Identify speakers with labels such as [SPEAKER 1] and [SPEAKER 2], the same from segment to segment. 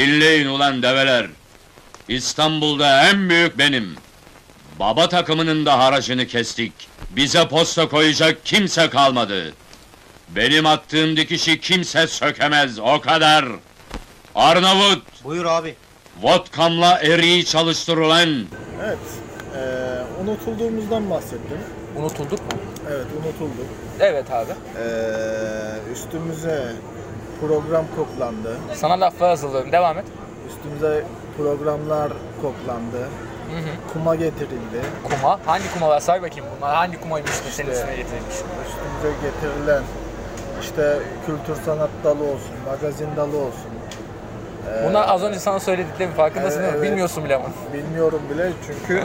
[SPEAKER 1] Dinleyin ulan develer! İstanbul'da en büyük benim. Baba takımının da haracını kestik. Bize posta koyacak kimse kalmadı. Benim attığım dikişi kimse sökemez, o kadar! Arnavut,
[SPEAKER 2] Buyur abi.
[SPEAKER 1] vodkamla eriği çalıştır ulan!
[SPEAKER 3] Evet, eee, unutulduğumuzdan bahsettim.
[SPEAKER 4] Unutulduk mu?
[SPEAKER 3] Evet, unutulduk.
[SPEAKER 4] Evet abi.
[SPEAKER 3] Eee, E, üstümüze program koklandı.
[SPEAKER 4] Sana laflar hazırlıyorum. Devam et.
[SPEAKER 3] Üstümüze programlar koklandı.
[SPEAKER 4] Hı hı.
[SPEAKER 3] Kuma getirildi.
[SPEAKER 4] Kuma. Hangi kumalar? Say bakayım bunlar. Hangi kumaymış da senin üstüne getirilmiş?
[SPEAKER 3] Üstümüze getirilen işte kültür sanat dalı olsun, magazin dalı olsun.
[SPEAKER 4] Bunlar az önce sana söylediklerim farkındasın değil mi?
[SPEAKER 3] Evet.
[SPEAKER 4] Bilmiyorsun bile ama.
[SPEAKER 3] Bilmiyorum bile çünkü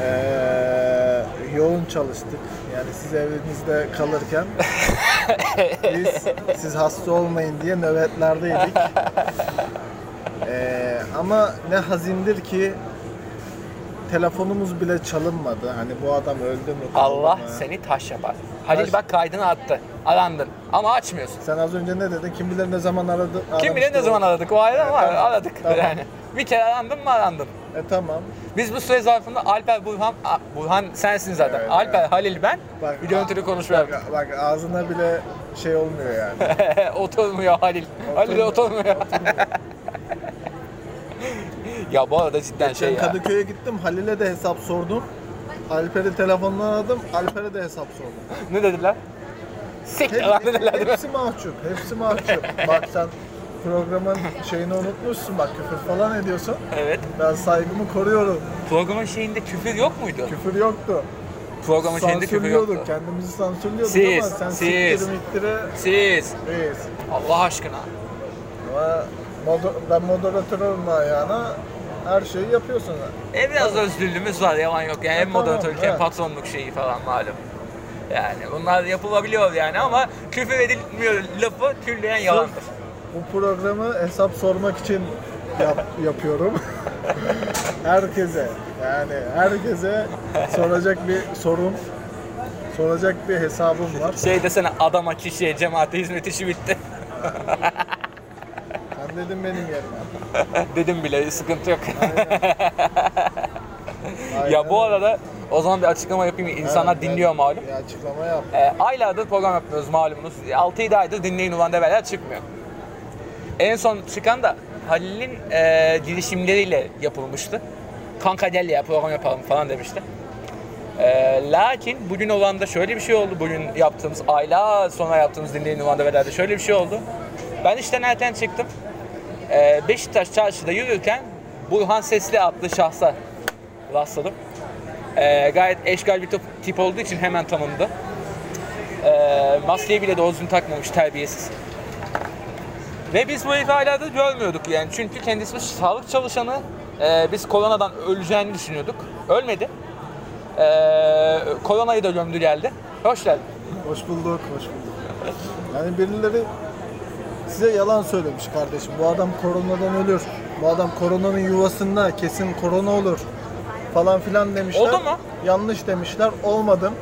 [SPEAKER 3] eee, yoğun çalıştık. Yani siz evinizde kalırken biz siz hasta olmayın diye nöbetlerdeydik. Eee, ama ne hazindir ki telefonumuz bile çalınmadı. Hani bu adam öldü mü? kaldı
[SPEAKER 4] Allah
[SPEAKER 3] mı?
[SPEAKER 4] seni taş yapar. Halil
[SPEAKER 3] Taş-
[SPEAKER 4] bak kaydını attı. Arandın. Ama açmıyorsun.
[SPEAKER 3] Sen az önce ne dedin? Kim bilir ne zaman aradı?
[SPEAKER 4] Kim bilir
[SPEAKER 3] aramıştı
[SPEAKER 4] ne
[SPEAKER 3] o.
[SPEAKER 4] zaman aradık o ayrı ama
[SPEAKER 3] tamam,
[SPEAKER 4] aradık
[SPEAKER 3] tamam.
[SPEAKER 4] yani. Bir kere arandın mı arandın.
[SPEAKER 3] E tamam.
[SPEAKER 4] Biz bu süre zarfında Alper, Burhan, A- Burhan sensin zaten.
[SPEAKER 3] Evet,
[SPEAKER 4] Alper,
[SPEAKER 3] evet.
[SPEAKER 4] Halil ben.
[SPEAKER 3] Bak-
[SPEAKER 4] bir görüntülü konuşma yaptık.
[SPEAKER 3] Bak, bak ağzına bile şey olmuyor yani.
[SPEAKER 4] oturmuyor Halil. Halil oturmuyor. ya bu arada cidden şey
[SPEAKER 3] Ben
[SPEAKER 4] ya.
[SPEAKER 3] Kadıköy'e gittim, Halil'e de hesap sordum. Alper'i telefonla aradım, Alper'e de hesap sordum.
[SPEAKER 4] Ne dediler? Siktir lan
[SPEAKER 3] Hep-
[SPEAKER 4] dediler değil mi?
[SPEAKER 3] hepsi mahcup, hepsi mahcup. bak sen programın şeyini unutmuşsun, bak küfür falan ediyorsun.
[SPEAKER 4] Evet.
[SPEAKER 3] Ben saygımı koruyorum.
[SPEAKER 4] Programın şeyinde küfür yok muydu?
[SPEAKER 3] Küfür yoktu.
[SPEAKER 4] Programın şeyinde küfür yoktu.
[SPEAKER 3] Sansürlüyorduk, kendimizi sansürlüyorduk
[SPEAKER 4] Siz,
[SPEAKER 3] ama sen
[SPEAKER 4] siz.
[SPEAKER 3] siktiri miktiri
[SPEAKER 4] Siz.
[SPEAKER 3] reis.
[SPEAKER 4] Allah aşkına.
[SPEAKER 3] Ama moder- ben moderatörüm ayağına her şeyi yapıyorsun.
[SPEAKER 4] E biraz da özgürlüğümüz var yalan yok. Yani hem
[SPEAKER 3] tamam,
[SPEAKER 4] moderatörlük hem
[SPEAKER 3] evet.
[SPEAKER 4] patronluk şeyi falan malum. Yani bunlar yapılabiliyor yani ama küfür edilmiyor lafı külliyen yalandır.
[SPEAKER 3] Bu programı hesap sormak için yap- yapıyorum. herkese yani herkese soracak bir sorum, soracak bir hesabım var.
[SPEAKER 4] Şey desene adama, kişiye, cemaate hizmet işi bitti.
[SPEAKER 3] Sen dedim benim yerime.
[SPEAKER 4] Dedim bile sıkıntı yok.
[SPEAKER 3] Aynen.
[SPEAKER 4] ya bu arada o zaman bir açıklama yapayım. İnsanlar
[SPEAKER 3] Evet,
[SPEAKER 4] dinliyor
[SPEAKER 3] evet.
[SPEAKER 4] malum.
[SPEAKER 3] Bir açıklama yap.
[SPEAKER 4] Ee, aylardır program yapmıyoruz malumunuz. 6-7 aydır dinleyin ulan develer çıkmıyor. En son çıkan da Halil'in e, girişimleriyle yapılmıştı. Kanka gel ya program yapalım falan demişti. Ee, lakin bugün olanda şöyle bir şey oldu. Bugün yaptığımız, aylar sonra yaptığımız dinleyin ulan develerde şöyle bir şey oldu. Ben işten erken çıktım. Ee, Beşiktaş çarşıda yürürken Burhan Sesli adlı şahsa rastladım. Ee, gayet eşgal bir tip, tip olduğu için hemen tanındı. Ee, maskeyi bile doğru düzgün takmamış terbiyesiz. Ve biz bu herifi hala da görmüyorduk yani. Çünkü kendisi bir sağlık çalışanı. Ee, biz koronadan öleceğini düşünüyorduk. Ölmedi. Ee, koronayı da gömdü geldi. Hoş geldin.
[SPEAKER 3] Hoş bulduk, hoş bulduk. Yani birileri size yalan söylemiş kardeşim. Bu adam koronadan ölür. Bu adam koronanın yuvasında kesin korona olur falan filan demişler.
[SPEAKER 4] Oldu mu? Hmm.
[SPEAKER 3] Yanlış demişler. Olmadım.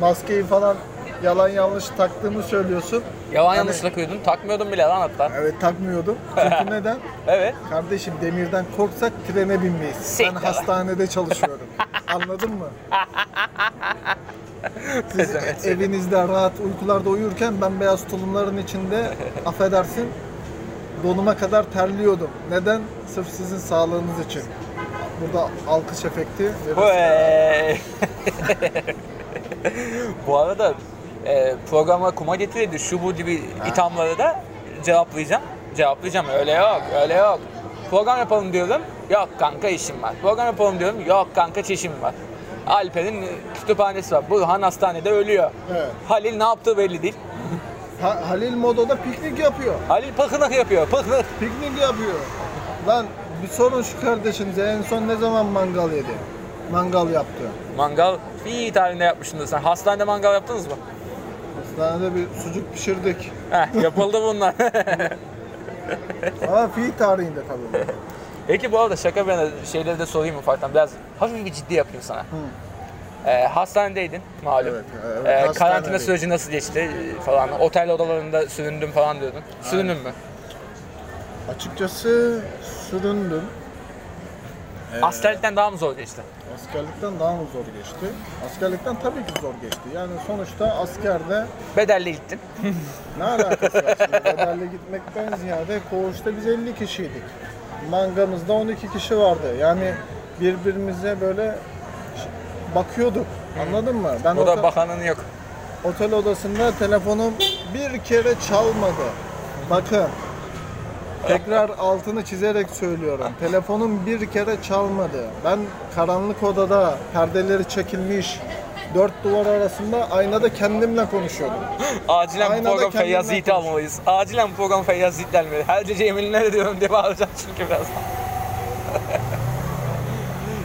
[SPEAKER 3] Maskeyi falan yalan yanlış taktığımı söylüyorsun.
[SPEAKER 4] Yalan
[SPEAKER 3] Hani-
[SPEAKER 4] yanlış takıyordun. Takmıyordun bile lan hatta.
[SPEAKER 3] Evet takmıyordum. Çünkü neden?
[SPEAKER 4] Evet.
[SPEAKER 3] Kardeşim demirden korksak trene binmeyiz. Ben
[SPEAKER 4] Siktir.
[SPEAKER 3] hastanede çalışıyorum. Anladın mı? Siz
[SPEAKER 4] Evet.
[SPEAKER 3] evinizde rahat uykularda uyurken ben beyaz tulumların içinde affedersin donuma kadar terliyordum. Neden? Sırf sizin sağlığınız için. Burada alkış efekti.
[SPEAKER 4] Hey! bu arada e, programa kuma getirildi. Şu bu gibi ithamları da cevaplayacağım. Cevaplayacağım. Öyle yok, öyle yok. Program yapalım diyorum. Yok kanka işim var. Program yapalım diyorum. Yok kanka çişim var. Alper'in kütüphanesi var. Burhan hastanede ölüyor.
[SPEAKER 3] Evet.
[SPEAKER 4] Halil ne yaptığı belli değil.
[SPEAKER 3] Ha- Halil Modo'da piknik yapıyor.
[SPEAKER 4] Halil pıkınık yapıyor. Pıkınık.
[SPEAKER 3] Piknik yapıyor. Lan bir sorun şu kardeşinize en son ne zaman mangal yedi? Mangal yaptı.
[SPEAKER 4] Mangal iyi tarihinde yapmışsındır sen. Hastanede mangal yaptınız mı?
[SPEAKER 3] Hastanede bir sucuk pişirdik.
[SPEAKER 4] Heh, yapıldı bunlar.
[SPEAKER 3] Ama fi tarihinde tabii.
[SPEAKER 4] Peki bu arada şaka ben şeyleri de sorayım ufaktan. Biraz hafif bir ciddi yapayım sana. Ee, hastanedeydin malum.
[SPEAKER 3] Evet, evet,
[SPEAKER 4] Ee, karantina
[SPEAKER 3] hastanedeyim.
[SPEAKER 4] süreci nasıl geçti e, falan. Otel odalarında süründüm falan diyordun. Süründün mü?
[SPEAKER 3] Açıkçası süründüm. Ee,
[SPEAKER 4] Askerlikten daha mı zordu işte?
[SPEAKER 3] Askerlikten daha mı zor geçti? Askerlikten tabii ki zor geçti. Yani sonuçta askerde
[SPEAKER 4] Bedelle gittin.
[SPEAKER 3] ne alakası var şimdi? Bedelli gitmekten ziyade koğuşta biz 50 kişiydik. Mangamızda 12 kişi vardı. Yani birbirimize böyle bakıyorduk. Anladın mı? Ben
[SPEAKER 4] Bu da
[SPEAKER 3] orta-
[SPEAKER 4] bakanın yok.
[SPEAKER 3] Otel odasında telefonum bir kere çalmadı. Bakın. Tekrar altını çizerek söylüyorum. Telefonum bir kere çalmadı. Ben karanlık odada perdeleri çekilmiş dört duvar arasında aynada kendimle konuşuyordum.
[SPEAKER 4] Acilen bu
[SPEAKER 3] Aynada
[SPEAKER 4] program
[SPEAKER 3] kendinden
[SPEAKER 4] Feyyaz Yiğit'i
[SPEAKER 3] konuş.
[SPEAKER 4] almalıyız. Acilen bu program Feyyaz Yiğit'le almalıyız. Her gece Emin'i nerede diyorum diye bağıracağım çünkü birazdan.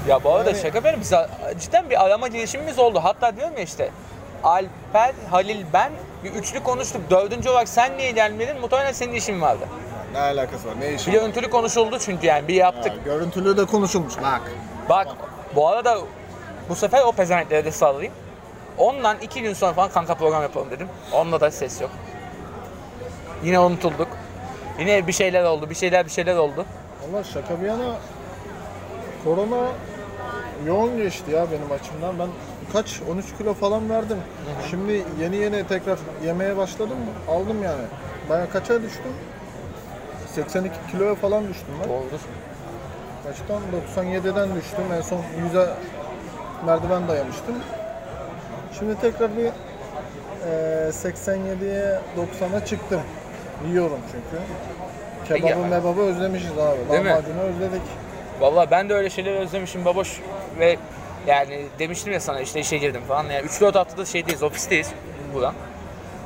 [SPEAKER 4] ya bu arada
[SPEAKER 3] Yani-
[SPEAKER 4] şaka benim. Biz cidden bir arama girişimimiz oldu. Hatta diyorum ya işte Alper, Halil, ben bir üçlü konuştuk. Dördüncü olarak sen niye gelmedin? Muhtemelen senin işin vardı.
[SPEAKER 3] Ne alakası var? Ne işi?
[SPEAKER 4] Bir görüntülü konuşuldu çünkü yani bir yaptık.
[SPEAKER 3] Ha, görüntülü de konuşulmuş. Bak.
[SPEAKER 4] Bak bu arada bu sefer o pezevenklere de sallayayım. Ondan iki gün sonra falan kanka program yapalım dedim. Onunla da ses yok. Yine unutulduk. Yine bir şeyler oldu, bir şeyler bir şeyler oldu.
[SPEAKER 3] Valla şaka bir yana korona yoğun geçti ya benim açımdan. Ben kaç 13 kilo falan verdim. Şimdi yeni yeni tekrar yemeye başladım. Aldım yani. Baya kaça düştüm? 82 kiloya falan düştüm ben.
[SPEAKER 4] Oldu.
[SPEAKER 3] Kaçtan? 97'den düştüm. En son 100'e merdiven dayamıştım. Şimdi tekrar bir e, 87'ye 90'a çıktım. Yiyorum çünkü. Kebabı
[SPEAKER 4] E Ya.
[SPEAKER 3] mebabı özlemişiz abi.
[SPEAKER 4] Değil mi?
[SPEAKER 3] Lahmacunu özledik.
[SPEAKER 4] Vallahi ben de öyle şeyleri özlemişim baboş ve yani demiştim ya sana işte işe girdim falan. Yani 3-4 haftada şeydeyiz, ofisteyiz buradan.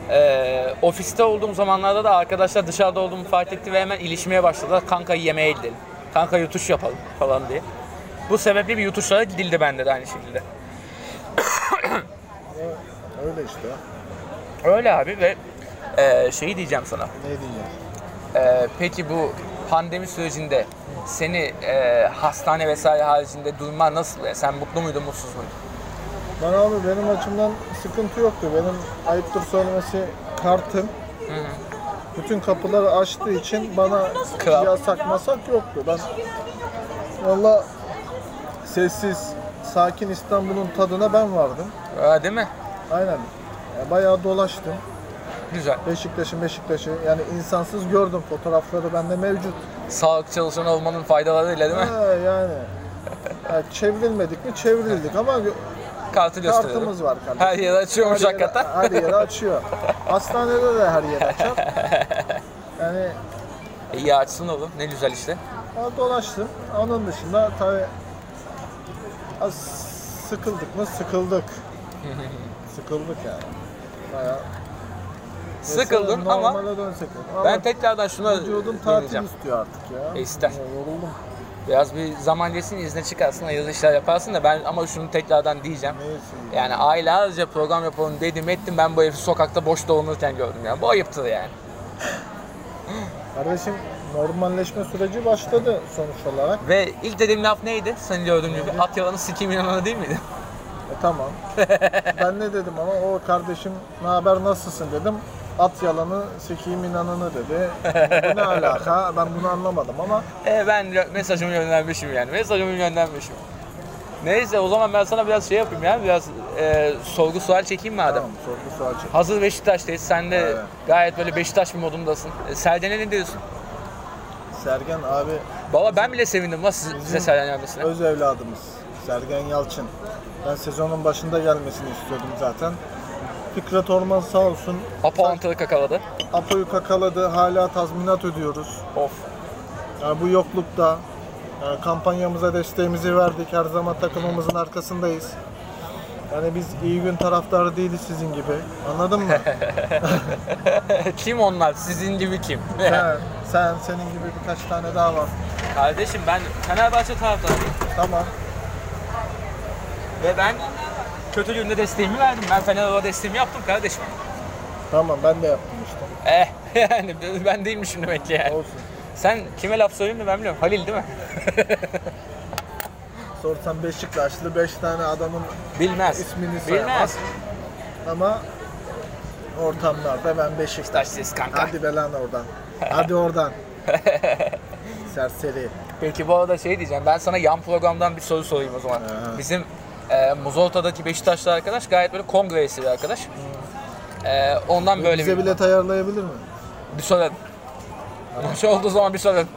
[SPEAKER 4] Ee, ofiste olduğum zamanlarda da arkadaşlar dışarıda olduğumu fark etti ve hemen ilişmeye başladılar. Kanka yemeğe gidelim, kanka yutuş yapalım falan diye. Bu sebeple bir yutuşlara gidildi bende de aynı şekilde.
[SPEAKER 3] Öyle işte.
[SPEAKER 4] Öyle abi ve e, şeyi diyeceğim sana.
[SPEAKER 3] Ne diyeceğim?
[SPEAKER 4] Ee, peki bu pandemi sürecinde seni e, hastane vesaire haricinde duyman nasıl? Yani sen mutlu muydun, mutsuz muydun?
[SPEAKER 3] Ben abi benim açımdan sıkıntı yoktu. Benim ayıptır söylemesi kartım. Bütün kapıları açtığı için bana
[SPEAKER 4] Kral.
[SPEAKER 3] yasak masak yoktu. Ben valla sessiz, sakin İstanbul'un tadına ben vardım.
[SPEAKER 4] Aa, değil mi?
[SPEAKER 3] Aynen. Ya Bayağı dolaştım.
[SPEAKER 4] Güzel.
[SPEAKER 3] Beşiktaş'ı Beşiktaş'ı yani insansız gördüm fotoğrafları bende mevcut.
[SPEAKER 4] Sağlık çalışanı olmanın faydalarıyla değil mi?
[SPEAKER 3] Ha, yani. Ya çevrilmedik mi çevrildik ama gö-
[SPEAKER 4] Kartı gösteriyorum.
[SPEAKER 3] kartımız var kardeşim.
[SPEAKER 4] Her yere açıyormuş
[SPEAKER 3] Her yere-
[SPEAKER 4] hakikaten.
[SPEAKER 3] Her yere açıyor. Hastanede de her yere açar. Yani
[SPEAKER 4] İyi E, açsın oğlum. Ne güzel işte.
[SPEAKER 3] ben dolaştım. Onun dışında tabii az sıkıldık mı? Sıkıldık. sıkıldık yani. Bayağı.
[SPEAKER 4] Sıkıldın
[SPEAKER 3] Mesela
[SPEAKER 4] ama
[SPEAKER 3] normale dönsek. Ama
[SPEAKER 4] Ben tekrardan şuna
[SPEAKER 3] vücudum tatil
[SPEAKER 4] döneceğim.
[SPEAKER 3] istiyor artık ya.
[SPEAKER 4] E, ister.
[SPEAKER 3] Ya, Yoruldum.
[SPEAKER 4] Biraz bir zaman geçsin izne çıkarsın, hayırlı işler yaparsın da ben ama şunu tekrardan diyeceğim.
[SPEAKER 3] Neyse.
[SPEAKER 4] Yani aylarca program yapalım dedim ettim ben bu herifi sokakta boş dolanırken gördüm yani. Bu ayıptır yani.
[SPEAKER 3] Kardeşim normalleşme süreci başladı sonuç olarak.
[SPEAKER 4] Ve ilk dediğim laf neydi? Senin gördüğüm gibi at yalanı sikeyim yalanı değil miydi?
[SPEAKER 3] E tamam. ben ne dedim ama o kardeşim ne haber nasılsın dedim. At yalanı sikiyim inanını dedi. Bu ne alaka ben bunu anlamadım ama
[SPEAKER 4] E ben gö- mesajımı göndermişim yani. Mesajımı göndermişim. Neyse o zaman ben sana biraz şey yapayım yani biraz e, sorgu sual çekeyim madem.
[SPEAKER 3] tamam sorgu sual çek.
[SPEAKER 4] Hazır Beşiktaş'tayız. Sen de
[SPEAKER 3] Evet.
[SPEAKER 4] gayet böyle Beşiktaş bir modundasın. E, Sergen'e ne diyorsun?
[SPEAKER 3] Sergen abi
[SPEAKER 4] Valla ben bile sevindim lan siz- size Sergen gelmesine.
[SPEAKER 3] öz evladımız. Sergen Yalçın. Ben sezonun başında gelmesini istiyordum zaten. Fikret Orman sağ olsun
[SPEAKER 4] Apo Antalı kakaladı.
[SPEAKER 3] Apo'yu kakaladı. Hala tazminat ödüyoruz.
[SPEAKER 4] Of.
[SPEAKER 3] Yani bu yoklukta yani kampanyamıza desteğimizi verdik. Her zaman takımımızın arkasındayız. Yani biz iyi gün taraftarı değiliz sizin gibi. Anladın mı?
[SPEAKER 4] kim onlar? Sizin gibi kim?
[SPEAKER 3] sen, sen, senin gibi birkaç tane daha var.
[SPEAKER 4] Kardeşim ben Fenerbahçe taraftarıyım.
[SPEAKER 3] Tamam.
[SPEAKER 4] Ve ben kötü günde desteğimi verdim. Ben Fenerbahçe desteğimi yaptım kardeşim.
[SPEAKER 3] Tamam ben de yaptım işte.
[SPEAKER 4] Eh yani ben değilmişim demek ki yani.
[SPEAKER 3] Olsun.
[SPEAKER 4] Sen kime laf söyleyeyim mi ben bilmiyorum. Halil değil mi?
[SPEAKER 3] Sorsan Beşiktaşlı 5 tane adamın
[SPEAKER 4] Bilmez.
[SPEAKER 3] İsmini
[SPEAKER 4] Bilmez.
[SPEAKER 3] sayamaz. ama ortamlarda ben Beşiktaş.
[SPEAKER 4] Taşsız kanka.
[SPEAKER 3] Hadi be lan oradan. Hadi oradan. Serseri.
[SPEAKER 4] Peki bu arada şey diyeceğim. Ben sana yan programdan bir soru sorayım o zaman.
[SPEAKER 3] Aha.
[SPEAKER 4] Bizim e, Muzolta'daki Beşiktaşlı arkadaş gayet böyle kongre üyesi bir arkadaş. E, ondan böyle
[SPEAKER 3] Bize
[SPEAKER 4] bir,
[SPEAKER 3] bilet ayarlayabilir mi?
[SPEAKER 4] bir sorun. Maç olduğu zaman bir sorun.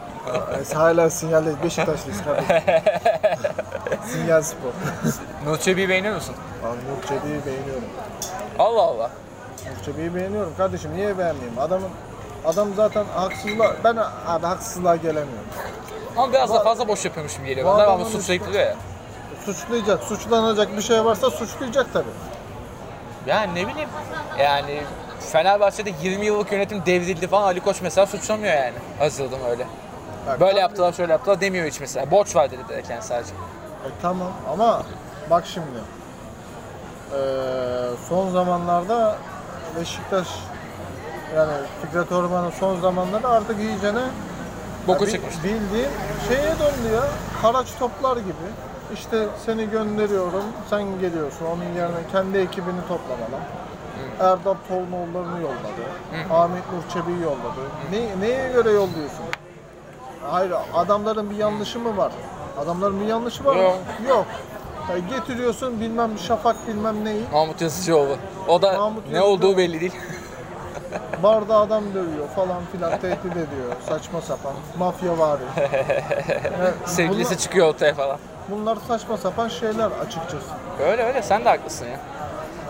[SPEAKER 3] Biz hala sinyaldeyiz. Beşiktaşlıyız kardeşim. Sinyal spor.
[SPEAKER 4] Nurçebi'yi beğeniyor musun?
[SPEAKER 3] Abi Nurçebi'yi beğeniyorum.
[SPEAKER 4] Allah Allah.
[SPEAKER 3] Nurçebi'yi beğeniyorum kardeşim. Niye beğenmeyeyim? Adamın Adam zaten haksızlığa, ben abi haksızlığa gelemiyorum.
[SPEAKER 4] Ama biraz da fazla boş yapıyormuş gibi geliyor.
[SPEAKER 3] Bu
[SPEAKER 4] bana. Ama
[SPEAKER 3] adamın
[SPEAKER 4] suç
[SPEAKER 3] üstü-
[SPEAKER 4] sayıklıyor ya.
[SPEAKER 3] Suçlayacak, suçlanacak bir şey varsa suçlayacak tabii.
[SPEAKER 4] Yani ne bileyim. Yani Fenerbahçe'de 20 yıllık yönetim devrildi falan Ali Koç mesela suçlamıyor yani. Hazırladım öyle.
[SPEAKER 3] Bak,
[SPEAKER 4] Böyle yaptılar şöyle yaptılar demiyor hiç mesela. Borç var dedi direkt yani sadece.
[SPEAKER 3] E, tamam ama bak şimdi. Ee, son zamanlarda Beşiktaş yani Fikret Orman'ın son zamanlarda artık iyicene
[SPEAKER 4] Boku
[SPEAKER 3] ya, bi-
[SPEAKER 4] çıkmış.
[SPEAKER 3] Bildiğin şeye döndü ya. Haraç toplar gibi. İşte seni gönderiyorum, sen geliyorsun. Onun yerine kendi ekibini toplamalı. Erdal Tolmoğulları'nı yolladı. Ahmet Nur Çebi'yi yolladı. Ne, neye göre yolluyorsun? Hayır, adamların bir yanlışı mı var? Adamların bir yanlışı var mı?
[SPEAKER 4] Yok.
[SPEAKER 3] Yok. Ya getiriyorsun bilmem Şafak bilmem neyi.
[SPEAKER 4] Mahmut Yazıcıoğlu. O da
[SPEAKER 3] Mahmut
[SPEAKER 4] ne
[SPEAKER 3] Yazıcıoğlu.
[SPEAKER 4] olduğu belli değil.
[SPEAKER 3] Barda adam dövüyor falan filan tehdit ediyor. Saçma sapan. Mafya var.
[SPEAKER 4] Sevgilisi çıkıyor ortaya falan.
[SPEAKER 3] Bunlar saçma sapan şeyler açıkçası.
[SPEAKER 4] Öyle öyle sen de haklısın ya.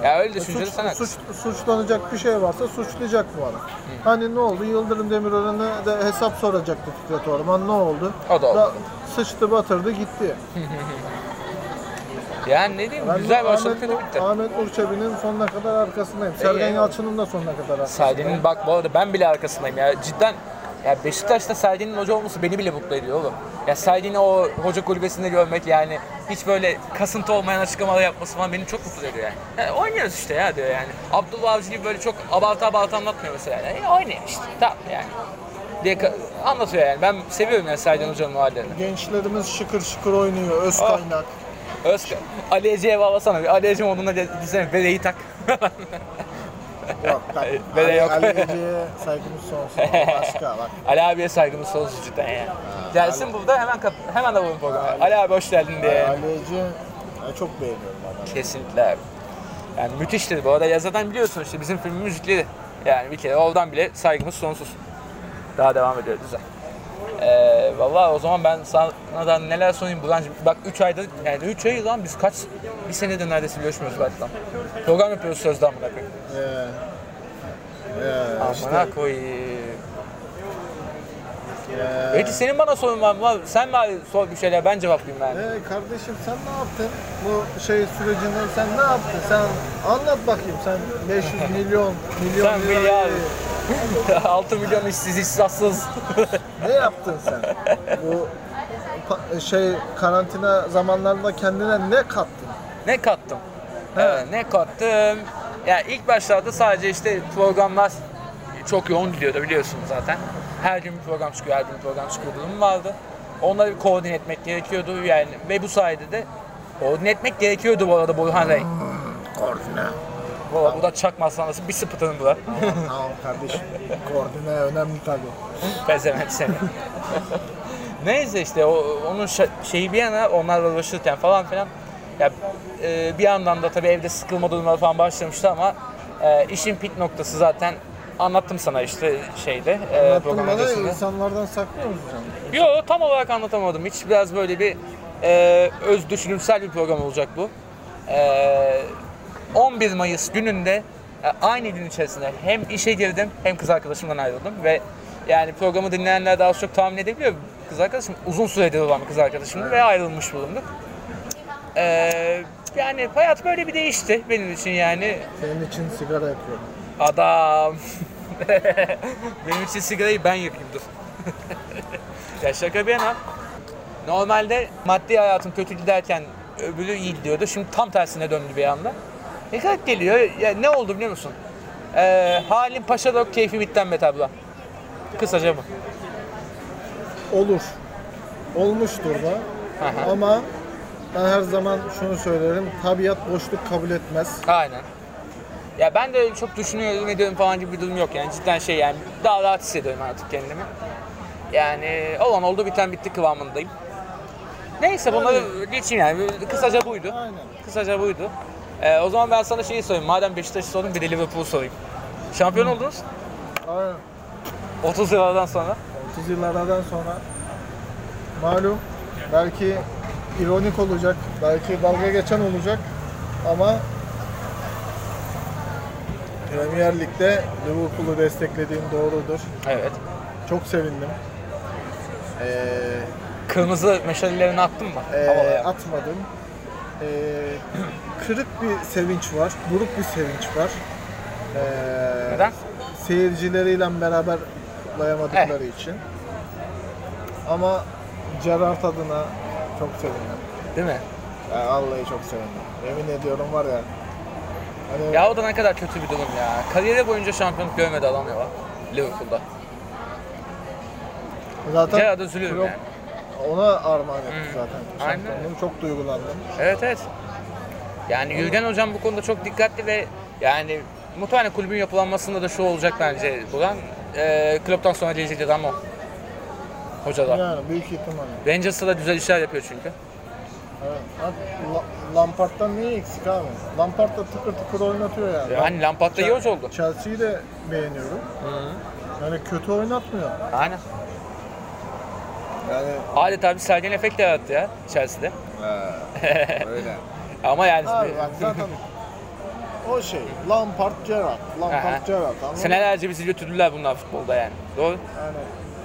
[SPEAKER 4] Ya öyle düşünceli
[SPEAKER 3] Suç,
[SPEAKER 4] sen haklısın.
[SPEAKER 3] suç- suçlanacak bir şey varsa suçlayacak bu adam. Hani ne oldu? Yıldırım Demirören'e de hesap soracaktı Fikret Orman. Ne oldu?
[SPEAKER 4] O da oldu.
[SPEAKER 3] sıçtı, batırdı, gitti.
[SPEAKER 4] Yani ne diyeyim
[SPEAKER 3] Ben
[SPEAKER 4] güzel
[SPEAKER 3] Ahmet
[SPEAKER 4] başladı kötü
[SPEAKER 3] Nur-
[SPEAKER 4] bitti. E,
[SPEAKER 3] Ahmet Nur Çebi'nin sonuna kadar arkasındayım. Sergen
[SPEAKER 4] iyi.
[SPEAKER 3] Yalçın'ın da sonuna kadar arkasındayım.
[SPEAKER 4] Sadi'nin bak bu arada ben bile arkasındayım ya cidden. Ya Beşiktaş'ta Sadi'nin hoca olması beni bile mutlu ediyor oğlum. Ya Sadi'ni o hoca kulübesinde görmek yani hiç böyle kasıntı olmayan açıklamalar yapması falan beni çok mutlu ediyor yani. Ya oynuyoruz işte ya diyor yani. Abdullah Avcı gibi böyle çok abartı abartı anlatmıyor mesela. Yani. Ya oynuyor işte tamam yani. Diye ka- anlatıyor yani. Ben seviyorum ya Sadi'nin hocanın o hallerini.
[SPEAKER 3] Gençlerimiz şıkır şıkır oynuyor. Öz
[SPEAKER 4] Ah.
[SPEAKER 3] kaynak.
[SPEAKER 4] Özkan, Ali Ece'ye bağlasana. Bir Ali Ece moduna ge- gitsene. Bereyi tak.
[SPEAKER 3] Yok bak.
[SPEAKER 4] Ve de
[SPEAKER 3] Ali,
[SPEAKER 4] E, yok.
[SPEAKER 3] Ali Ece'ye saygımız sonsuz. O Başka bak.
[SPEAKER 4] Ali abiye saygımız sonsuz cidden yani. Gelsin burada hemen kap hemen alalım programı. Ali abi hoş geldin diye.
[SPEAKER 3] Ali Ece ya çok beğeniyorum adamı.
[SPEAKER 4] Kesinlikle abi. Yani müthiştir. Bu arada ya zaten biliyorsun işte bizim filmin müzikleri. Yani bir kere oradan bile saygımız sonsuz. Daha devam ediyor güzel. Ee, Valla o zaman ben sana da neler sorayım Burhan'cığım. Bak 3 ayda, yani 3 ay lan biz kaç, bir senedir neredeyse görüşmüyoruz belki lan. Program yapıyoruz sözden buna koyayım. e,
[SPEAKER 3] Ee, ee,
[SPEAKER 4] Amına koyayım.
[SPEAKER 3] ee,
[SPEAKER 4] Peki senin bana sorun var mı? Lan Sen mi sor bir şeyler ben cevaplayayım yani.
[SPEAKER 3] Ee kardeşim sen ne yaptın? Bu şey sürecinde sen ne yaptın? Sen anlat bakayım sen 500 milyon, milyon
[SPEAKER 4] Sen
[SPEAKER 3] lirayı
[SPEAKER 4] milyar. 6 milyon işsiz, işsiz, hassız.
[SPEAKER 3] ne yaptın sen? Bu pa- şey karantina zamanlarında kendine ne kattın?
[SPEAKER 4] ne kattım? Ee, ne kattım? Ya ilk başlarda sadece işte programlar çok yoğun gidiyordu biliyorsun zaten. Her gün bir program çıkıyor, her gün bir program çıkıyor durum vardı. Onları bir koordine etmek gerekiyordu yani ve bu sayede de koordine etmek gerekiyordu bu arada Burhan Bey.
[SPEAKER 3] Koordine.
[SPEAKER 4] Valla bu da çakmazsan nasıl bir sıpıtın bu da.
[SPEAKER 3] tamam kardeşim. Koordine önemli tabii.
[SPEAKER 4] Bezemek seni. Neyse işte o, onun şa- şeyi bir yana onlarla uğraşırken falan filan ya e, bir yandan da tabii evde sıkılma durumları falan başlamıştı ama e, işin pit noktası zaten anlattım sana işte şeyde e,
[SPEAKER 3] Anlattın
[SPEAKER 4] program
[SPEAKER 3] bana
[SPEAKER 4] öncesinde.
[SPEAKER 3] insanlardan saklıyor musun sen?
[SPEAKER 4] Yo tam olarak anlatamadım hiç. Biraz böyle bir e, öz düşünümsel bir program olacak bu. E, 11 Mayıs gününde e, aynı gün içerisinde hem işe girdim hem kız arkadaşımdan ayrıldım ve yani programı dinleyenler daha az çok tahmin edebiliyor. Kız arkadaşım uzun süredir olan bir kız arkadaşımdı ve ayrılmış bulunduk. E, yani hayat böyle bir değişti benim için yani.
[SPEAKER 3] Senin için sigara yapıyorum.
[SPEAKER 4] Adam. Benim için sigarayı ben yapayım dur. ya şaka bir yana. Normalde maddi hayatım kötü giderken öbürü iyi gidiyordu. Şimdi tam tersine döndü bir anda. Ne kadar geliyor. Ya ne oldu biliyor musun? Ee, halim paşa dok keyfi bitten bet abla. Kısaca bu.
[SPEAKER 3] Olur. Olmuştur da.
[SPEAKER 4] Aha.
[SPEAKER 3] Ama ben her zaman şunu söylerim. Tabiat boşluk kabul etmez.
[SPEAKER 4] Aynen. Ya ben de öyle çok düşünüyorum ediyorum falan gibi bir durum yok yani cidden şey yani daha rahat hissediyorum artık kendimi. Yani olan oldu biten bitti kıvamındayım. Neyse bunları geçeyim yani. Kısaca buydu.
[SPEAKER 3] Aynen.
[SPEAKER 4] Kısaca buydu. Ee, o zaman ben sana şeyi sorayım. Madem Beşiktaş'ı sordun bir de Liverpool'u sorayım. Şampiyon oldunuz.
[SPEAKER 3] Aynen.
[SPEAKER 4] 30 yıllardan sonra.
[SPEAKER 3] 30 yıllardan sonra malum belki ironik olacak, belki dalga geçen olacak ama Premier Lig'de Liverpool'u desteklediğim doğrudur.
[SPEAKER 4] Evet.
[SPEAKER 3] Çok sevindim. Ee,
[SPEAKER 4] Kırmızı meşalelerini attın mı?
[SPEAKER 3] Ee,
[SPEAKER 4] Havalara.
[SPEAKER 3] atmadım. Ee, kırık bir sevinç var, buruk bir sevinç var. Ee,
[SPEAKER 4] Neden?
[SPEAKER 3] Seyircileriyle beraber kutlayamadıkları
[SPEAKER 4] Eh.
[SPEAKER 3] için. Ama Gerrard adına çok sevindim.
[SPEAKER 4] Değil mi?
[SPEAKER 3] Yani vallahi çok sevindim. Yemin ediyorum var ya. Hani
[SPEAKER 4] Ya o da ne kadar kötü bir durum ya. Kariyeri boyunca şampiyonluk görmedi adam ya. Liverpool'da.
[SPEAKER 3] zaten
[SPEAKER 4] Gerrard'a üzülüyorum
[SPEAKER 3] Klopp
[SPEAKER 4] yani.
[SPEAKER 3] Ona armağan etti
[SPEAKER 4] Hı.
[SPEAKER 3] zaten.
[SPEAKER 4] Aynen.
[SPEAKER 3] Şampiyonluğum çok duygulandım.
[SPEAKER 4] Evet evet. Yani Yürgen hocam bu konuda çok dikkatli ve yani muhtemelen kulübün yapılanmasında da şu olacak bence Buran. E, Klopp'tan sonra gelecek adam o. Hoca da.
[SPEAKER 3] Yani büyük ihtimalle.
[SPEAKER 4] Rangers'ta da güzel işler yapıyor çünkü.
[SPEAKER 3] Evet. Abi, La- Lampard'dan niye eksik abi? Lampard da tıkır tıkır oynatıyor yani.
[SPEAKER 4] Yani Hani Lampard'da iyi hoca oldu.
[SPEAKER 3] Chelsea'yi de beğeniyorum. Yani kötü oynatmıyor.
[SPEAKER 4] Aynen.
[SPEAKER 3] Yani
[SPEAKER 4] Adeta bir Sergen efekt yarattı ya Chelsea'de.
[SPEAKER 3] öyle.
[SPEAKER 4] Ama yani
[SPEAKER 3] Abi bak zaten o şey Lampard Gerrard,
[SPEAKER 4] Aha.
[SPEAKER 3] Lampard Gerrard anladın mı?
[SPEAKER 4] senelerce bizi götürdüler bunlar futbolda yani. Doğru.
[SPEAKER 3] Yani,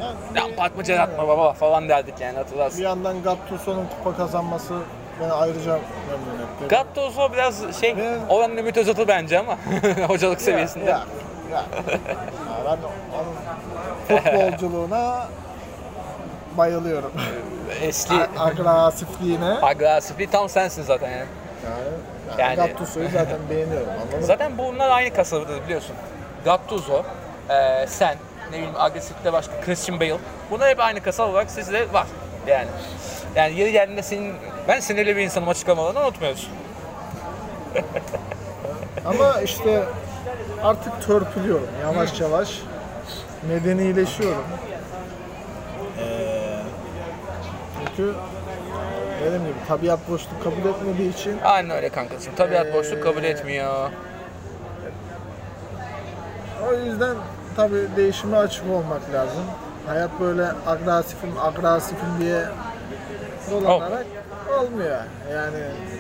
[SPEAKER 3] yani bir-
[SPEAKER 4] Lampard mı Gerrard mı baba falan derdik yani hatırlarsın.
[SPEAKER 3] Bir yandan Gattuso'nun kupa kazanması beni ayrıca memnun etti.
[SPEAKER 4] Gattuso biraz şey,
[SPEAKER 3] Ve-
[SPEAKER 4] oranın Ümit Özat'ı bence ama hocalık
[SPEAKER 3] Ya,
[SPEAKER 4] seviyesinde.
[SPEAKER 3] Ya, ya. Ya ben onun futbolculuğuna bayılıyorum.
[SPEAKER 4] Eski
[SPEAKER 3] Agresifliğine.
[SPEAKER 4] agresifliği tam sensin zaten yani.
[SPEAKER 3] Yani,
[SPEAKER 4] Yani-
[SPEAKER 3] yani Gattuso'yu zaten beğeniyorum anladın mı?
[SPEAKER 4] Zaten bunlar aynı kasabadır biliyorsun. Gattuso, eee, sen, ne bileyim agresiflikte başka Christian Bale. Bunlar hep aynı kasaba olarak sizde var yani. Yani yeri geldiğinde senin, ben sinirli bir insanım açıklamalarını unutmuyorsun.
[SPEAKER 3] Ama işte artık törpülüyorum yavaş yavaş. Medenileşiyorum. Ee, çünkü dediğim gibi tabiat boşluk kabul etmediği için
[SPEAKER 4] Aynen öyle kankacığım. Tabiat boşluk kabul
[SPEAKER 3] Ee,
[SPEAKER 4] etmiyor.
[SPEAKER 3] o yüzden tabii değişime açık olmak lazım. Hayat böyle agresifim agresifim diye dolanarak olmuyor. Yani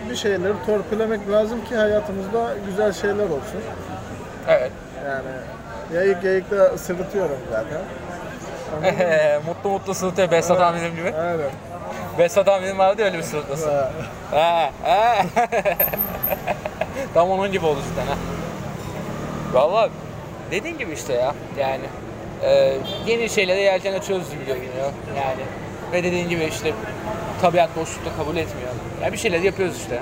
[SPEAKER 3] bir şeyleri törpülemek lazım ki hayatımızda güzel şeyler olsun.
[SPEAKER 4] Evet.
[SPEAKER 3] Yani yayık yayık da sırıtıyorum zaten.
[SPEAKER 4] mutlu mutlu sırıtıyor Behzat amirim gibi.
[SPEAKER 3] Aynen.
[SPEAKER 4] Behzat amirim vardı ya öyle bir sırıtması.
[SPEAKER 3] Ha.
[SPEAKER 4] Ha, ha. Tam onun gibi oldu cidden ha. Valla dediğin gibi işte ya yani e, yeni şeylere yelken açıyoruz gibi görünüyor yani. Ve dediğin gibi işte tabiat boşlukta kabul etmiyor. Ya bir şeyler yapıyoruz işte.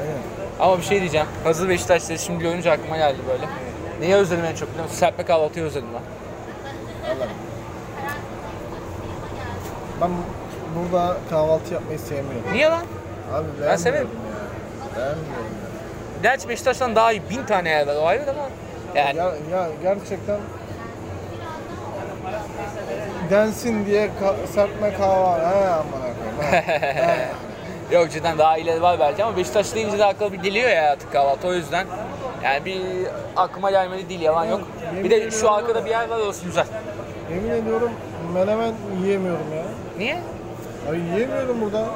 [SPEAKER 3] Aynen.
[SPEAKER 4] Ama bir şey diyeceğim. Hazır Beşiktaş'ta şimdi görünce aklıma geldi böyle. Neyi özledim en çok biliyor musun? Serpme kahvaltıyı özledim ben.
[SPEAKER 3] Vallahi. Ben burada kahvaltı yapmayı sevmiyorum.
[SPEAKER 4] Niye lan?
[SPEAKER 3] Abi
[SPEAKER 4] Ben
[SPEAKER 3] ben
[SPEAKER 4] severim.
[SPEAKER 3] seviyorum. Ya. Beğenmiyorum.
[SPEAKER 4] Gerçi Beşiktaş'tan daha iyi bin tane yer var o ayrı ama.
[SPEAKER 3] Ya.
[SPEAKER 4] Yani
[SPEAKER 3] Ya, ya gerçekten densin diye ka- serpme kahvaltı. He aman akıllı.
[SPEAKER 4] Yok cidden daha ileri var belki ama Beşiktaş deyince de akla bir geliyor ya artık kahvaltı o yüzden. Yani bir aklıma gelmedi değil yalan yok. Bir de şu arkada bir yer var orası güzel.
[SPEAKER 3] Yemin ediyorum menemen yiyemiyorum ya.
[SPEAKER 4] Niye?
[SPEAKER 3] Ay yiyemiyorum burada. Ya,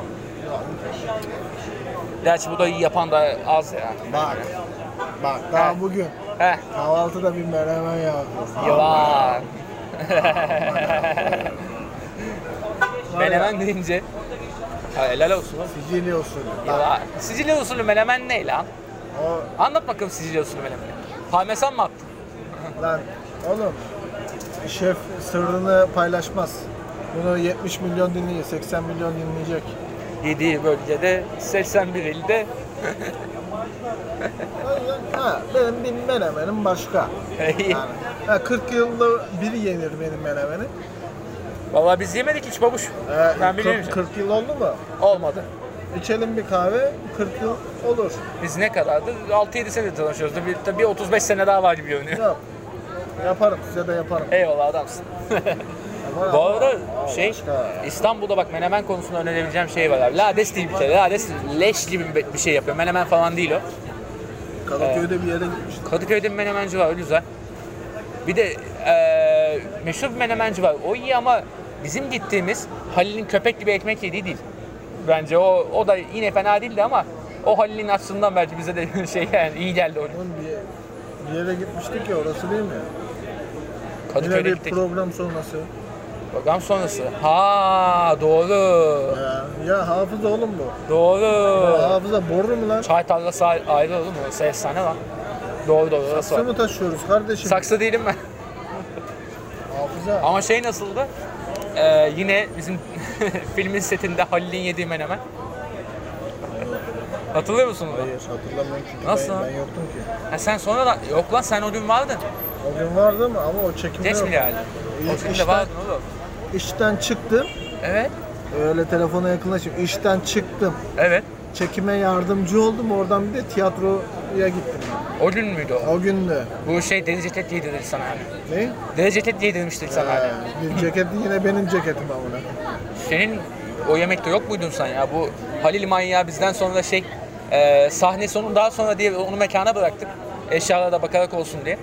[SPEAKER 4] Gerçi bu da iyi yapan da az ya.
[SPEAKER 3] Bak. Bak daha bugün
[SPEAKER 4] Heh,
[SPEAKER 3] kahvaltıda bir menemen yaptım.
[SPEAKER 4] yalan. menemen deyince. Ha, helal olsun. oğlum.
[SPEAKER 3] Sicilya usulü. Bak,
[SPEAKER 4] Yalan. Sicilya usulü menemen ne lan?
[SPEAKER 3] o
[SPEAKER 4] Anlat bakalım Sicilya usulü menemeni. Parmesan mı attın?
[SPEAKER 3] Lan oğlum şef sırrını paylaşmaz. Bunu 70 milyon dinleyecek, 80 milyon dinleyecek.
[SPEAKER 4] Yediği bölgede 81 ilde
[SPEAKER 3] Ha, benim bir menemenim başka. Yani, ha, 40 yılda bir yenir benim menemenim.
[SPEAKER 4] Vallahi biz yemedik hiç babuş.
[SPEAKER 3] Ee,
[SPEAKER 4] ben
[SPEAKER 3] 40,
[SPEAKER 4] biliyorum.
[SPEAKER 3] 40 yıl oldu mu?
[SPEAKER 4] Olmadı.
[SPEAKER 3] İçelim bir kahve, 40 yıl olur.
[SPEAKER 4] Biz ne kadardı? 6-7 senedir tanışıyoruz. Bir, tabii 35 sene daha var gibi görünüyor.
[SPEAKER 3] Yap. Yaparım, size de yaparım.
[SPEAKER 4] Eyvallah adamsın.
[SPEAKER 3] var
[SPEAKER 4] Bu
[SPEAKER 3] ama
[SPEAKER 4] arada şey
[SPEAKER 3] başka.
[SPEAKER 4] İstanbul'da bak menemen konusunda önerebileceğim şey var abi. Lades değil bir kere. Lades leş gibi bir- bir şey yapıyor. Menemen falan değil o.
[SPEAKER 3] Kadıköy'de bir yere gitmiştim.
[SPEAKER 4] Kadıköy'de bir menemenci var, o güzel. Bir de eee meşhur bir menemenci var. O iyi ama bizim gittiğimiz Halil'in köpek gibi ekmek yediği değil. Bence o o da yine fena değildi ama o Halil'in açısından belki bize de şey yani iyi geldi o.
[SPEAKER 3] Oğlum bir, bir yere gitmiştik ya orası değil mi? Yine
[SPEAKER 4] Kadıköy'de
[SPEAKER 3] bir
[SPEAKER 4] gittik.
[SPEAKER 3] program sonrası.
[SPEAKER 4] Program sonrası. Ha doğru.
[SPEAKER 3] Ya, ya hafıza oğlum bu. Ya
[SPEAKER 4] Doğru.
[SPEAKER 3] hafıza boru mu lan?
[SPEAKER 4] Çay tarlası ay- ayrı olur mu? Orası efsane lan. Doğru doğru orası
[SPEAKER 3] Saksı
[SPEAKER 4] var.
[SPEAKER 3] mı taşıyoruz kardeşim?
[SPEAKER 4] Saksı değilim ben.
[SPEAKER 3] Hafıza.
[SPEAKER 4] Ama şey nasıldı? Ee, yine bizim filmin setinde Halil'in yediği menemen. Hatırlıyor musun onu?
[SPEAKER 3] Hayır hatırlamıyorum çünkü
[SPEAKER 4] Nasıl?
[SPEAKER 3] Ben, ben yoktum ki.
[SPEAKER 4] Ha, sen sonra da... Yok lan sen o gün vardın.
[SPEAKER 3] O gün vardı mı ama o çekimde
[SPEAKER 4] Geç mi
[SPEAKER 3] yok.
[SPEAKER 4] geldi?
[SPEAKER 3] Yok,
[SPEAKER 4] O gün de
[SPEAKER 3] işte.
[SPEAKER 4] vardın oğlum.
[SPEAKER 3] İşten çıktım.
[SPEAKER 4] Evet.
[SPEAKER 3] Öyle telefona yakınlaşıp işten çıktım.
[SPEAKER 4] Evet.
[SPEAKER 3] Çekime yardımcı oldum. Oradan bir de tiyatroya gittim.
[SPEAKER 4] O gün müydü o?
[SPEAKER 3] O gün de.
[SPEAKER 4] Bu şey deniz ceket yedirir sana hani.
[SPEAKER 3] Ne?
[SPEAKER 4] Deniz ceket yedirmiştik sana hani.
[SPEAKER 3] Ee, bir ceket yine benim ceketim amına.
[SPEAKER 4] Senin o yemekte yok muydun sen ya? Bu Halil manyağı bizden sonra şey e, sahne sonu daha sonra diye onu mekana bıraktık. Eşyalara da bakarak olsun diye.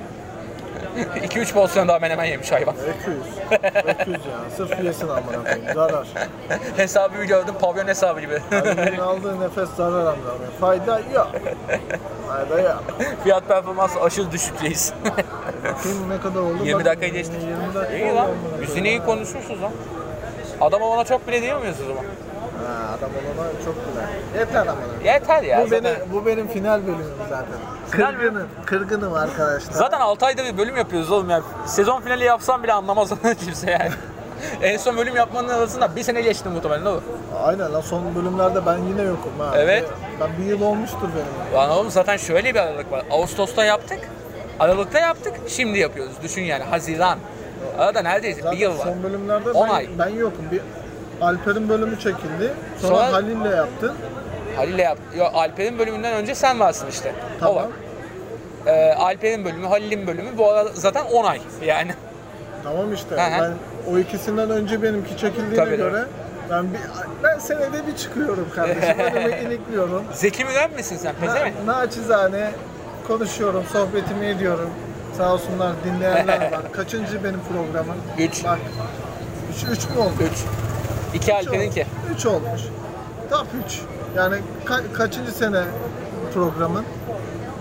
[SPEAKER 4] 2-3 porsiyon daha menemen yemiş hayvan.
[SPEAKER 3] Öküz. Öküz ya. Sırf yesin amına koyayım. Zarar.
[SPEAKER 4] Hesabı gördüm, pavyon hesabı gibi.
[SPEAKER 3] Halil'in aldığı nefes zarar amına koyayım. Fayda yok. Fayda yok.
[SPEAKER 4] Fiyat performansı aşırı düşükteyiz.
[SPEAKER 3] Film ne kadar oldu?
[SPEAKER 4] 20
[SPEAKER 3] Bak,
[SPEAKER 4] dakikayı geçtik.
[SPEAKER 3] 20 dakika
[SPEAKER 4] İyi
[SPEAKER 3] oldu
[SPEAKER 4] lan.
[SPEAKER 3] amına koyayım.
[SPEAKER 4] Üstüne iyi konuşmuşsunuz lan. Adama ona çok bile diyor muyuz o zaman?
[SPEAKER 3] Ha, adam olana çok güzel. Yeter amına koyayım.
[SPEAKER 4] Yeter ya.
[SPEAKER 3] Bu,
[SPEAKER 4] zaten.
[SPEAKER 3] beni, bu benim final bölümüm zaten.
[SPEAKER 4] Final
[SPEAKER 3] Kırgınım. Kırgınım arkadaşlar.
[SPEAKER 4] Zaten 6 ayda bir bölüm yapıyoruz oğlum ya. Sezon finali yapsam bile anlamaz kimse yani. en son bölüm yapmanın arasında bir sene geçti muhtemelen olur.
[SPEAKER 3] Aynen lan son bölümlerde ben yine yokum ha.
[SPEAKER 4] Evet.
[SPEAKER 3] Ben bir yıl olmuştur benim.
[SPEAKER 4] Lan oğlum zaten şöyle bir aralık var. Ağustos'ta yaptık. Aralık'ta yaptık. Şimdi yapıyoruz. Düşün yani. Haziran. Arada neredeyse
[SPEAKER 3] Zaten
[SPEAKER 4] bir yıl var.
[SPEAKER 3] son bölümlerde
[SPEAKER 4] On
[SPEAKER 3] ben,
[SPEAKER 4] ay.
[SPEAKER 3] ben yokum. Bir Alper'in bölümü çekildi. Sonra,
[SPEAKER 4] Sonra-
[SPEAKER 3] Halil'le yaptın.
[SPEAKER 4] Halil'le yap. Yo, Alper'in bölümünden önce sen varsın işte. O
[SPEAKER 3] Tamam.
[SPEAKER 4] var. Ee, Alper'in bölümü, Halil'in bölümü bu arada zaten 10 ay yani.
[SPEAKER 3] Tamam işte.
[SPEAKER 4] Hı hı.
[SPEAKER 3] Ben o ikisinden önce benimki çekildiğine
[SPEAKER 4] Tabii,
[SPEAKER 3] göre ben bir ben senede bir çıkıyorum kardeşim. Önüme inikliyorum.
[SPEAKER 4] Zeki Müren misin sen? Peze mi?
[SPEAKER 3] Na, naçizane konuşuyorum, sohbetimi ediyorum. Sağ olsunlar dinleyenler var. Kaçıncı benim programım?
[SPEAKER 4] Üç.
[SPEAKER 3] Bak. Üç, üç mü oldu?
[SPEAKER 4] 3. 2
[SPEAKER 3] Üç
[SPEAKER 4] Alper'inki.
[SPEAKER 3] olmuş. Üç olmuş. Top 3. Yani ka- kaçıncı sene programın?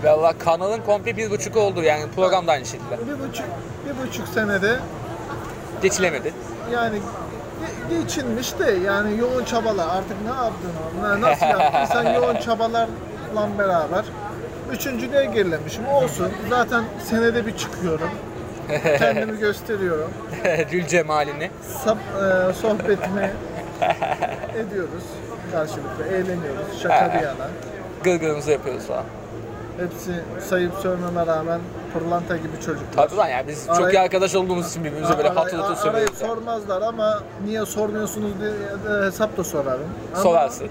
[SPEAKER 4] Valla kanalın komple bir buçuk oldu yani program da aynı şekilde.
[SPEAKER 3] Bir buçuk, bir buçuk senede
[SPEAKER 4] Geçilemedi.
[SPEAKER 3] yani ge- geçinmiş de yani yoğun çabalar artık ne yaptın onu, ne- nasıl yaptıysan yoğun çabalarla beraber üçüncülüğe gerilemişim olsun zaten senede bir çıkıyorum kendimi gösteriyorum
[SPEAKER 4] Gül cemalini.
[SPEAKER 3] Sab- e, sohbetimi ediyoruz karşılıklı eğleniyoruz şaka bir yana
[SPEAKER 4] Gırgırımızı yapıyoruz falan.
[SPEAKER 3] Hepsi sayıp sövmeme rağmen pırlanta gibi çocuklar.
[SPEAKER 4] Tabii lan ya biz çok
[SPEAKER 3] Arayı-
[SPEAKER 4] iyi arkadaş olduğumuz için birbirimize böyle
[SPEAKER 3] Aray-
[SPEAKER 4] hatır hatır
[SPEAKER 3] arayıp
[SPEAKER 4] söylüyoruz. yani.
[SPEAKER 3] sormazlar ama niye sormuyorsunuz diye de hesap da sorarım. Ama
[SPEAKER 4] Sorarsın.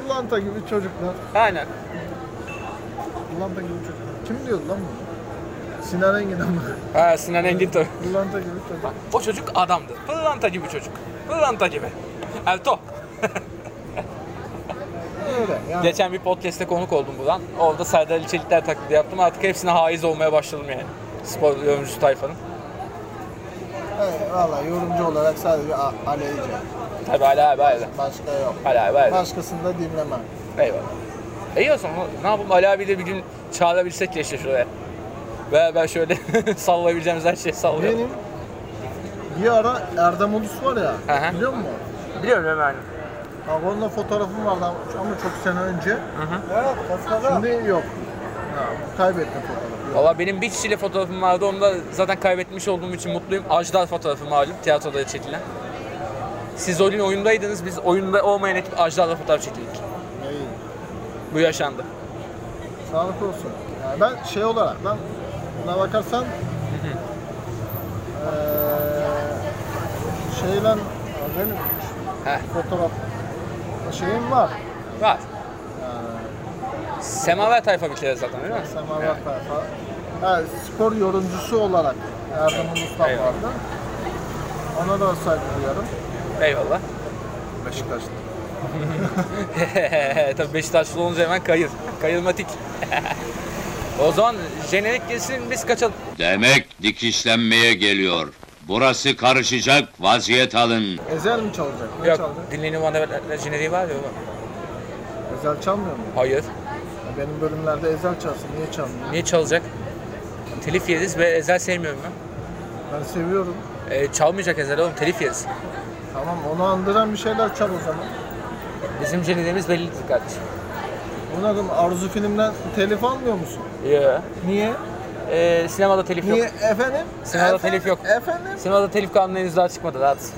[SPEAKER 3] Pırlanta gibi çocuklar.
[SPEAKER 4] Aynen.
[SPEAKER 3] Pırlanta gibi çocuklar. Kim diyordu lan bunu? Sinan Engin ama.
[SPEAKER 4] Ha, Sinan Engin tabii.
[SPEAKER 3] Pırlanta gibi çocuk.
[SPEAKER 4] O çocuk adamdı. Pırlanta gibi çocuk. Pırlanta gibi. Erto.
[SPEAKER 3] Öyle yani.
[SPEAKER 4] Geçen bir podcast'te konuk oldum buradan. Orada Serdar Ali Çelikler taklidi yaptım. Artık hepsine haiz olmaya başladım yani. Spor yorumcusu tayfanın.
[SPEAKER 3] Evet, Valla yorumcu olarak sadece a- aleyce.
[SPEAKER 4] Tabii hala abi hala.
[SPEAKER 3] Başka yok.
[SPEAKER 4] Hala abi hala.
[SPEAKER 3] Başkasını da dinlemem.
[SPEAKER 4] Eyvallah. İyi o zaman. Ne yapalım Ali abi de bir gün çağırabilsek ya işte şuraya. Beraber şöyle sallayabileceğimiz her şeyi sallayalım.
[SPEAKER 3] Benim bir ara Erdem Ulus var ya.
[SPEAKER 4] Hı hı.
[SPEAKER 3] Biliyor musun?
[SPEAKER 4] Biliyorum hemen.
[SPEAKER 3] Bak onunla fotoğrafım vardı ama çok sene önce. Şimdi yok. Ha, kaybettim fotoğrafı.
[SPEAKER 4] Valla benim bir kişiyle fotoğrafım vardı. Onu da zaten kaybetmiş olduğum için mutluyum. Ajdar fotoğrafı malum tiyatroda çekilen. Siz o gün oyundaydınız. Biz oyunda olmayan ekip Ajdar'la fotoğraf çekildik.
[SPEAKER 3] İyi.
[SPEAKER 4] Bu yaşandı.
[SPEAKER 3] Sağlık olsun. Yani ben şey olarak ben buna bakarsan eee şeyle ya benim
[SPEAKER 4] Heh.
[SPEAKER 3] fotoğraf şeyim var.
[SPEAKER 4] Var. Semaver tayfa bir kere zaten değil mi?
[SPEAKER 3] Semaver tayfa. Yani spor yorumcusu olarak Erdem Ulus'tan
[SPEAKER 4] Eyvallah.
[SPEAKER 3] vardı. Ona da saygı duyarım.
[SPEAKER 4] Eyvallah.
[SPEAKER 3] Beşiktaşlı.
[SPEAKER 4] Tabii Beşiktaşlı olunca hemen kayır. Kayırmatik. o zaman jenerik gelsin biz kaçalım.
[SPEAKER 1] Demek dikişlenmeye geliyor. Burası karışacak, vaziyet alın.
[SPEAKER 3] Ezel mi çalacak? Ne
[SPEAKER 4] Yok
[SPEAKER 3] çalacak?
[SPEAKER 4] dinleyin bana jeneriği var ya. o.
[SPEAKER 3] Ezel çalmıyor mu?
[SPEAKER 4] Hayır.
[SPEAKER 3] Ya Benim bölümlerde ezel çalsın. Niye çalmıyor?
[SPEAKER 4] Niye çalacak? Telif yeriz ve Ezel sevmiyorum ben.
[SPEAKER 3] Ben seviyorum.
[SPEAKER 4] E, çalmayacak Ezel oğlum telif yeriz.
[SPEAKER 3] Tamam onu andıran bir şeyler çal o zaman.
[SPEAKER 4] Bizim jeneriğimiz bellidir kardeşim.
[SPEAKER 3] Bunakım Arzu filmden telif almıyor musun?
[SPEAKER 4] Yo.
[SPEAKER 3] Niye?
[SPEAKER 4] E, sinemada telif
[SPEAKER 3] Niye
[SPEAKER 4] yok.
[SPEAKER 3] efendim?
[SPEAKER 4] Sinemada
[SPEAKER 3] Efendim?
[SPEAKER 4] telif yok.
[SPEAKER 3] Efendim?
[SPEAKER 4] Sinemada telif kanunu henüz daha çıkmadı rahat.